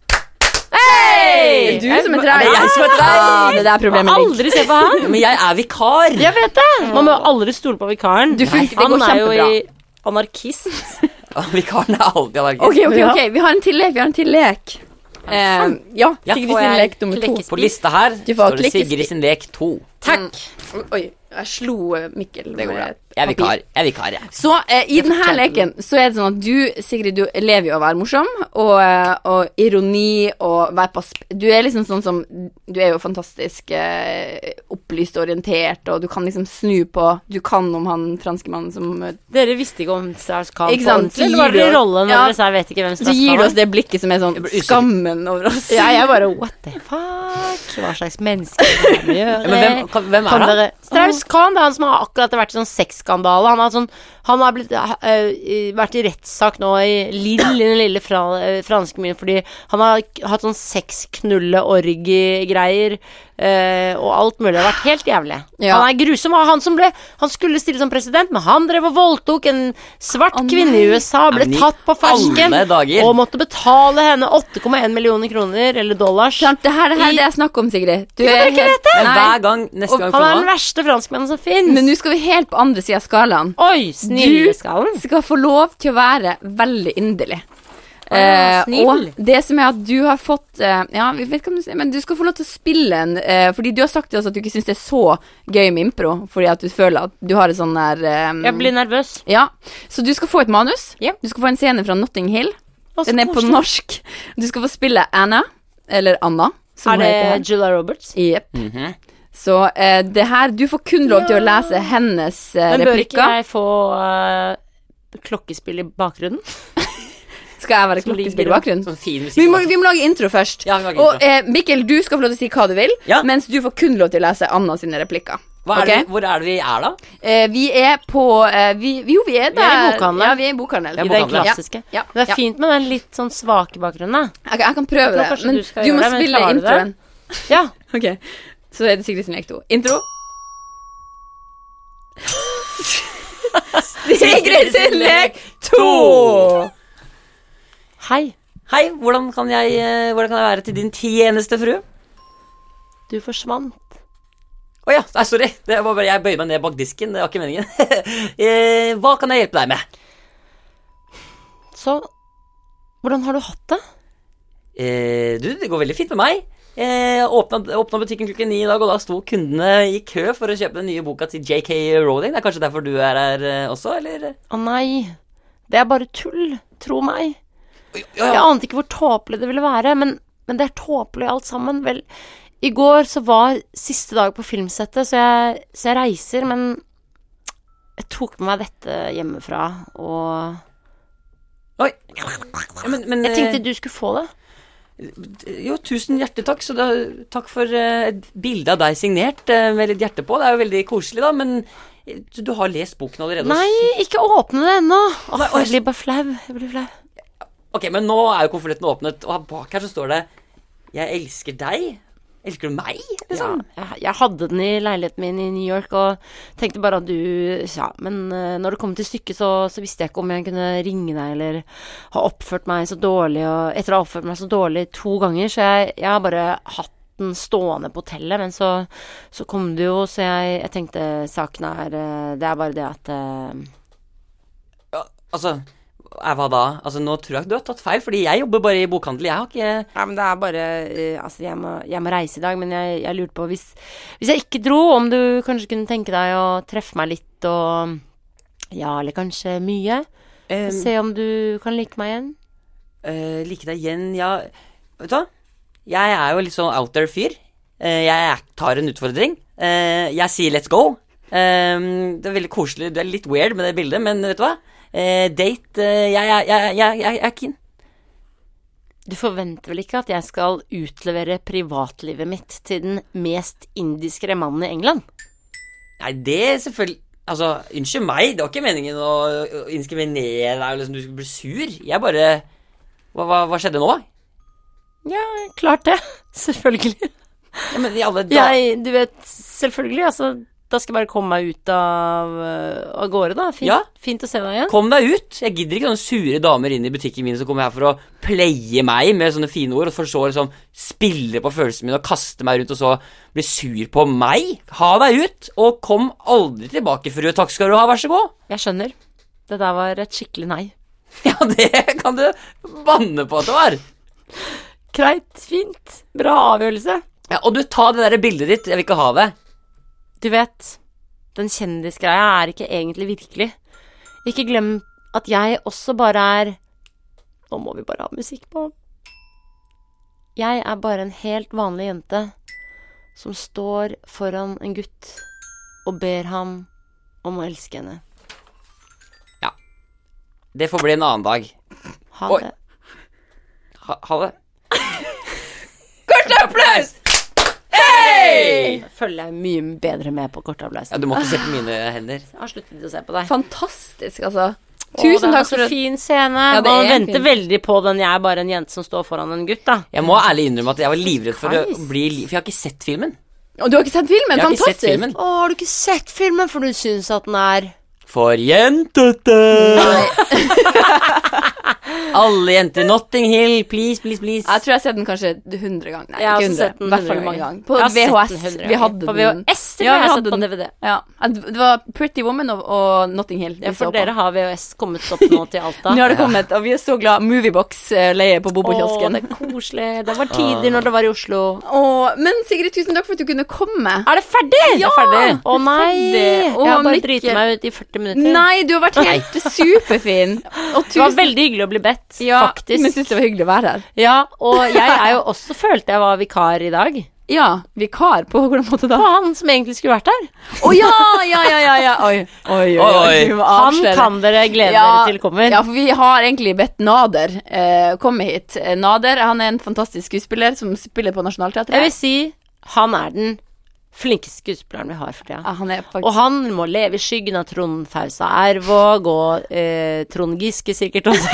S2: Hei! Du som er treig.
S3: Det er jeg som er treig.
S2: Ah, det der er problemet mitt.
S4: Aldri se på han.
S3: Men jeg er vikar.
S4: (laughs) Jeg vet det. Man må jo aldri stole på vikaren.
S2: Du funker- det
S4: han
S2: går
S4: er jo
S2: kjempebra.
S4: i anarkist.
S3: Ah, (laughs) Vikaren er alltid allergisk.
S2: OK, ok, ok. Vi har en til lek. Vi har en til lek. Eh, ja,
S3: Ja,
S2: Sigrid
S3: får
S2: sin
S3: jeg
S2: lek nummer to.
S3: På lista her
S2: Du får
S3: står det
S2: klikke-
S3: Sigrid sin lek 2.
S2: Takk. Oi, jeg slo eh, Mikkel med
S3: Jeg er vikar. Jeg er vikar, jeg.
S2: Så eh, i denne leken så er det sånn at du, Sigrid, du lever jo å være morsom, og, eh, og ironi og være på sp... Du er liksom sånn som Du er jo fantastisk eh, opplyst og orientert, og du kan liksom snu på Du kan om han franske mannen som eh,
S4: Dere visste ikke om Strauss Kahn
S2: Ikke sant, så
S4: Eller var
S2: gir
S4: det
S2: du-
S4: rollen når
S2: Ja.
S4: dere sa 'jeg vet ikke hvem
S2: Så
S4: Strauss
S2: gir
S4: Kahn
S2: du oss
S4: er'?
S2: det blikket som er sånn
S3: blir usikker.
S2: skammen over oss.
S4: Ja, jeg bare What the fuck? Hva slags menneske er det her
S3: Men hvem,
S4: med å gjøre?
S3: kan, hvem
S4: Kan
S3: er han?
S4: dere Strauss Kahn det er han som har akkurat vært i sånn sexskandale. Han har, sånn, han har blitt, ha- eh, i- vært i rettssak nå i Lille, den lille fra, eh, franske byen fordi han har k- hatt sånn sexknulle-orgi-greier eh, og alt mulig. Det har vært helt jævlig.
S2: Ja.
S4: Han er grusom. og Han, som ble, han skulle stille som president, men han drev og voldtok en svart
S2: Å,
S4: kvinne i USA. Ble
S3: Men i
S4: tatt på fersken
S3: alle dager.
S4: og måtte betale henne 8,1 millioner kroner, eller dollars.
S2: Sant, det her det her er det jeg snakker om, Sigrid. Du er helt
S3: Men
S2: Nei.
S3: hver gang neste gang
S4: Han er den
S3: for meg
S4: verste franskmannen som fins.
S2: Men nå skal vi helt på andre sida av skalaen.
S4: Oi,
S2: Du skal få lov til å være veldig inderlig. Eh,
S4: snill.
S2: og det som er at du har fått eh, Ja, vi vet hva du sier, men du skal få lov til å spille en eh, Fordi du har sagt til oss at du ikke syns det er så gøy med impro, fordi at du føler at du har et sånn der eh,
S4: Jeg blir nervøs.
S2: Ja. Så du skal få et manus.
S4: Ja.
S2: Du skal få en scene fra Notting Hill.
S4: Å, så
S2: Den er på
S4: koselig.
S2: norsk. Du skal få spille Anna, eller Anna, som
S4: Er
S2: hun heter her.
S4: det Julia Roberts?
S2: Jepp.
S3: Mhm.
S2: Så eh, det her Du får kun lov til å lese hennes eh,
S4: Men bør
S2: replikker.
S4: ikke jeg få eh, klokkespill i bakgrunnen?
S2: Skal jeg være
S4: ligger
S2: klokkespill i
S4: da.
S2: bakgrunnen?
S3: Sånn fin musikk.
S2: Vi må, vi må lage intro først.
S3: Ja, vi lager
S2: og
S3: intro.
S2: eh, Mikkel, du skal få lov til å si hva du vil,
S3: Ja.
S2: mens du får kun lov til å lese Anna sine replikker.
S3: Hva er det,
S2: Ok?
S3: hvor er det vi er, da?
S2: Eh, vi er på eh, vi, Jo, vi er der.
S4: bokhandelen.
S2: Ja, vi er i bokhandelen.
S3: Vi
S4: I
S3: er
S4: den
S3: bokhandler.
S4: klassiske.
S2: Ja,
S4: Det er
S2: ja.
S4: fint med den litt sånn svake bakgrunnen. da.
S2: Jeg, jeg kan prøve
S4: tror
S2: det,
S4: kanskje
S2: men
S4: du
S2: du,
S4: skal gjøre
S2: må
S4: det, men
S2: spille
S4: klarer du det?
S2: introen.
S4: Ja.
S2: Ok, Så er det Sigrid sin lek to. Intro. Sigrid sin lek to!
S4: Hei,
S3: Hei, hvordan kan jeg, eh, hvordan kan jeg være til din tjeneste, frue?
S4: du forsvant.
S3: Å ja, nei, sorry. Det var bare, jeg bøyer meg ned bak disken. Det var ikke meningen. (laughs) eh, hva kan jeg hjelpe deg med?
S4: Så hvordan har du hatt det?
S3: Eh, du, det går veldig fint med meg. Eh, åpna, åpna butikken klokken ni i dag, og da sto kundene i kø for å kjøpe den nye boka til JK Rowling. Det er kanskje derfor du er her eh, også, eller?
S4: Å nei, det er bare tull. Tro meg.
S3: ja, ja.
S4: Jeg ante ikke hvor tåpelig det ville være, men, men det er tåpelig alt sammen. Vel, i går så var siste dag på filmsettet, så jeg, så jeg reiser, men jeg tok med meg dette hjemmefra, og
S3: Oi. Ja, men, men
S4: Jeg tenkte du skulle få det.
S3: eh, Jo, tusen hjertelig takk. Så da, takk for eh, et bilde av deg signert eh, med litt hjerte på. Det er jo veldig koselig, da, men eh, du, du har lest boken allerede? og
S4: Nei, ikke åpne det ennå. Åh,
S3: Nei, oi.
S4: Jeg blir bare flau. Jeg blir flau.
S3: Ok, men nå er jo konvolutten åpnet, og bak her så står det Jeg elsker deg. Elsker du meg?
S4: Ja,
S3: Liksom.
S4: jeg, jeg hadde den i leiligheten min i New York og tenkte bare at du Ja, men eh, når det kom til stykket, så, så visste jeg ikke om jeg kunne ringe deg eller ha oppført meg så dårlig og Etter å ha oppført meg så dårlig to ganger, så jeg, jeg har bare hatt den stående på hotellet, men så, så kom det jo, så jeg, jeg tenkte saken er eh, Det er bare det at eh,
S3: Ja. Altså, eh, Hva da? Altså, nå tror jeg du har tatt feil, fordi jeg jobber bare i bokhandel. Jeg har ikke
S4: Ja, men det er bare eh, Altså, jeg må, jeg må reise i dag, men jeg, jeg lurte på hvis, hvis jeg ikke dro, om du kanskje kunne tenke deg å treffe meg litt og Ja, eller kanskje mye.
S3: eh,
S4: Se om du kan like meg igjen.
S3: eh, like deg igjen, ja Vet du hva? Jeg er jo litt sånn out there-fyr. Eh, jeg tar en utfordring. Eh, jeg sier let's go. Eh, det er veldig koselig. Du er litt weird med det bildet, men vet du hva? Eh, date eh, jeg, jeg, jeg, jeg, jeg, jeg er keen.
S4: Du forventer vel ikke at jeg skal utlevere privatlivet mitt til den mest indiskre mannen i England?
S3: Nei, det er selvfølgelig Altså, unnskyld meg, det var ikke meningen å å inskriminere deg eller liksom du skulle bli sur. Jeg bare Hva, hva, hva skjedde nå?
S4: Ja, klart det. (laughs) Selvfølgelig.
S3: Ja, men i alle da...
S4: Jeg, du vet, selvfølgelig. Altså, da skal jeg bare komme meg ut av, øh, av gårde, da. Fint,
S3: Ja.
S4: fint å se deg igjen.
S3: Kom deg ut! Jeg gidder ikke sånne sure damer inn i butikken min som kommer her for å pleie meg med sånne fine ord, og for så å liksom spille på følelsene mine og kaste meg rundt og så bli sur på meg. Ha deg ut, og kom aldri tilbake, frue. Takk skal du ha, vær så god. (laughs)
S4: Jeg skjønner. Det der var et skikkelig nei.
S3: Ja, det kan du banne på at det var.
S4: Greit, fint. Bra avgjørelse.
S3: Ja, og du, ta det der bildet ditt. Jeg vil ikke ha det.
S4: Du vet, den kjendisgreia er ikke egentlig virkelig. Ikke glem at jeg også bare er Nå må vi bare ha musikk på. Jeg er bare en helt vanlig jente som står foran en gutt og ber ham om å elske henne.
S3: Det får bli en annen dag.
S4: Ha
S3: Oi.
S4: det.
S3: Ha, ha det.
S1: Kort applaus!
S4: Følger jeg mye bedre med på
S3: Ja,
S4: kortapplausen.
S3: du må ikke se på mine hender.
S4: Jeg har sluttet å se på deg.
S2: Fantastisk, altså. Tusen takk for at
S4: det. var så Fin scene.
S2: Altså, Ja, det
S4: Man
S2: er en
S4: venter
S2: fin-
S4: veldig på den 'jeg er bare en jente som står foran en gutt', da.
S3: Jeg må ærlig innrømme at jeg var livredd for å
S4: Christ.
S3: bli li- For jeg har ikke sett filmen.
S2: Og du har ikke sett filmen?
S3: Jeg har ikke
S2: Fantastisk.
S3: sett filmen.
S4: Å, har du ikke sett filmen, for du syns at den er
S3: For jentete! (laughs) Alle jenter. Notting Hill, please, please, please.
S2: Jeg tror jeg har sett den kanskje 100 ganger. Nei,
S4: Jeg har
S2: ikke 100,
S4: også sett den
S2: i hvert fall
S4: 100
S2: mange
S4: ganger.
S2: ganger. På
S4: Jeg har sett den
S2: VHS. Vi
S4: 100 ganger.
S2: hadde
S4: På
S2: den.
S4: VHS tror
S2: Ja, vi
S4: jeg jeg har
S2: hadde
S4: sett på
S2: den.
S4: DVD.
S2: Ja. Ja, Det var Pretty Woman og, og Notting Hill. vi
S4: Ja,
S2: så
S4: for
S2: på.
S4: dere har VHS kommet opp nå til Alta.
S2: Nå har det kommet, og vi er så glad Moviebox-leie på
S4: Å,
S2: Bobokiosken.
S4: det er koselig. Det var tider når det var i Oslo.
S2: Åh, Men Sigrid, tusen takk for at du kunne komme.
S4: Er det ferdig?
S2: Ja,
S4: det er ferdig.
S2: det er
S4: Å nei!
S2: ferdig. Å,
S4: jeg har bare
S2: Mikkel.
S4: driti meg ut i 40 minutter.
S2: Nei, (laughs) du har vært helt superfin. Og
S4: Det var
S2: tusen
S4: veldig hyggelig å bli bedt,
S2: ja,
S4: faktisk.
S2: Men syns det var hyggelig å være her.
S4: Ja, og jeg er jo også følte jeg var vikar i dag.
S2: Ja, vikar på hvordan måte da?
S4: Og han som egentlig skulle vært her.
S2: Å ja, ja, ja, ja, ja. Oi, oi, oi.
S3: Oi.
S2: du må
S4: Han
S2: avsløre.
S4: kan dere glede dere til kommer.
S2: Ja, for vi har egentlig bedt Nader eh, komme hit. Eh, Nader han er en fantastisk skuespiller som spiller på Nationaltheatret.
S4: Jeg vil si han er den flinkeste skuespilleren vi har for tida.
S2: Ja, han er faktisk
S4: Og han må leve i skyggen av Trond Fausa Ervåg og eh, Trond Giske sikkert også.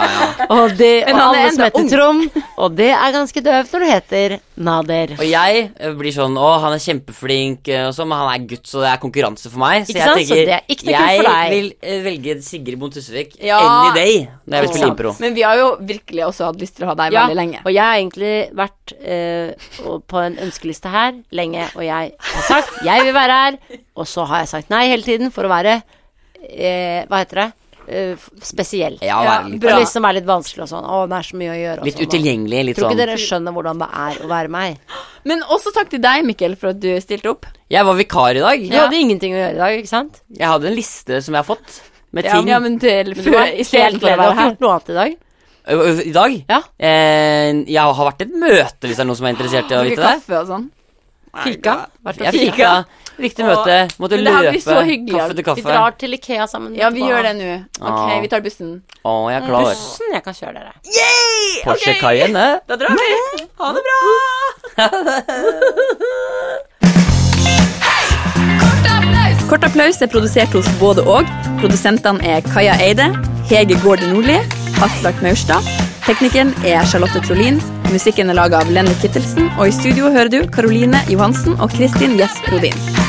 S4: og de,
S2: Men han
S4: og
S2: er
S4: alle som
S2: enda
S4: heter
S2: ung.
S4: Trond. Og det er ganske døvt når du heter Nader.
S3: Og jeg eh, blir sånn Å, han er kjempeflink, eh, og så, men han er gutt, så det er konkurranse for meg. Så
S4: Ikke
S3: jeg
S4: sant? Så
S3: tenker
S4: det er ikke noe kult for deg.
S3: Jeg vil eh, velge Sigrid Bonde Tusvik
S2: Ja.
S3: any day når jeg vil
S4: Ikke
S3: spille
S4: sant.
S3: impro.
S2: Men vi har jo virkelig også hatt lyst til å ha deg
S4: Ja,
S2: veldig lenge.
S4: og jeg har egentlig vært eh, og- på en ønskeliste her lenge, og jeg har sagt jeg vil være her, og så har jeg sagt nei hele tiden for å være eh, Hva heter det? Eh, f- spesiell.
S3: Ja,
S2: Ja,
S3: være litt,
S4: Og liksom være litt vanskelig og sånn. Å, det er så mye å gjøre. og
S3: litt
S4: sånn, og-
S3: utilgjengelig. Litt
S4: Tror ikke
S3: sånn
S4: dere skjønner hvordan det er å være meg.
S2: Men også takk til deg, Mikkel, for at du stilte opp.
S3: Jeg var vikar i dag.
S4: Du hadde ingenting å gjøre i dag, ikke sant?
S3: Jeg hadde en liste som jeg har fått, med
S2: Ja,
S3: ting
S2: ja men til
S4: Du
S2: før
S4: har
S2: (laughs) i stedet
S4: helt
S2: for å
S4: ledig,
S2: være
S4: har ikke
S2: her.
S4: gjort noe annet i dag.
S3: Ø, ø, i dag.
S4: Ja.
S3: Eh, jeg har vært i et møte, hvis det er noen som er interessert i
S4: (gasps)
S3: å
S2: Drikke
S3: vite det.
S2: kaffe og sånn.
S4: Fika.
S3: Jeg fikk da viktig møte. Måtte
S2: Men det her
S3: løpe
S2: blir så hyggelig.
S3: kaffe til
S4: Vi
S3: kaffe.
S4: drar til Ikea sammen.
S2: Ja, vi gjør det nå. Ok,
S3: Ah.
S2: vi tar bussen.
S3: Å, jeg er klar. eh?
S4: Bussen, jeg kan kjøre dere.
S3: Porsche Cayenne.
S2: Da drar vi. Ha det bra. Kort applaus er produsert hos både og. Produsentene er Kaja Eide, Hege Gården Nordli, Aslak Maurstad. Teknikeren er Charlotte Trolin. Musikken er laga av Lenny Kittelsen. Og i studio hører du Karoline Johansen og Kristin Gjess Rodin.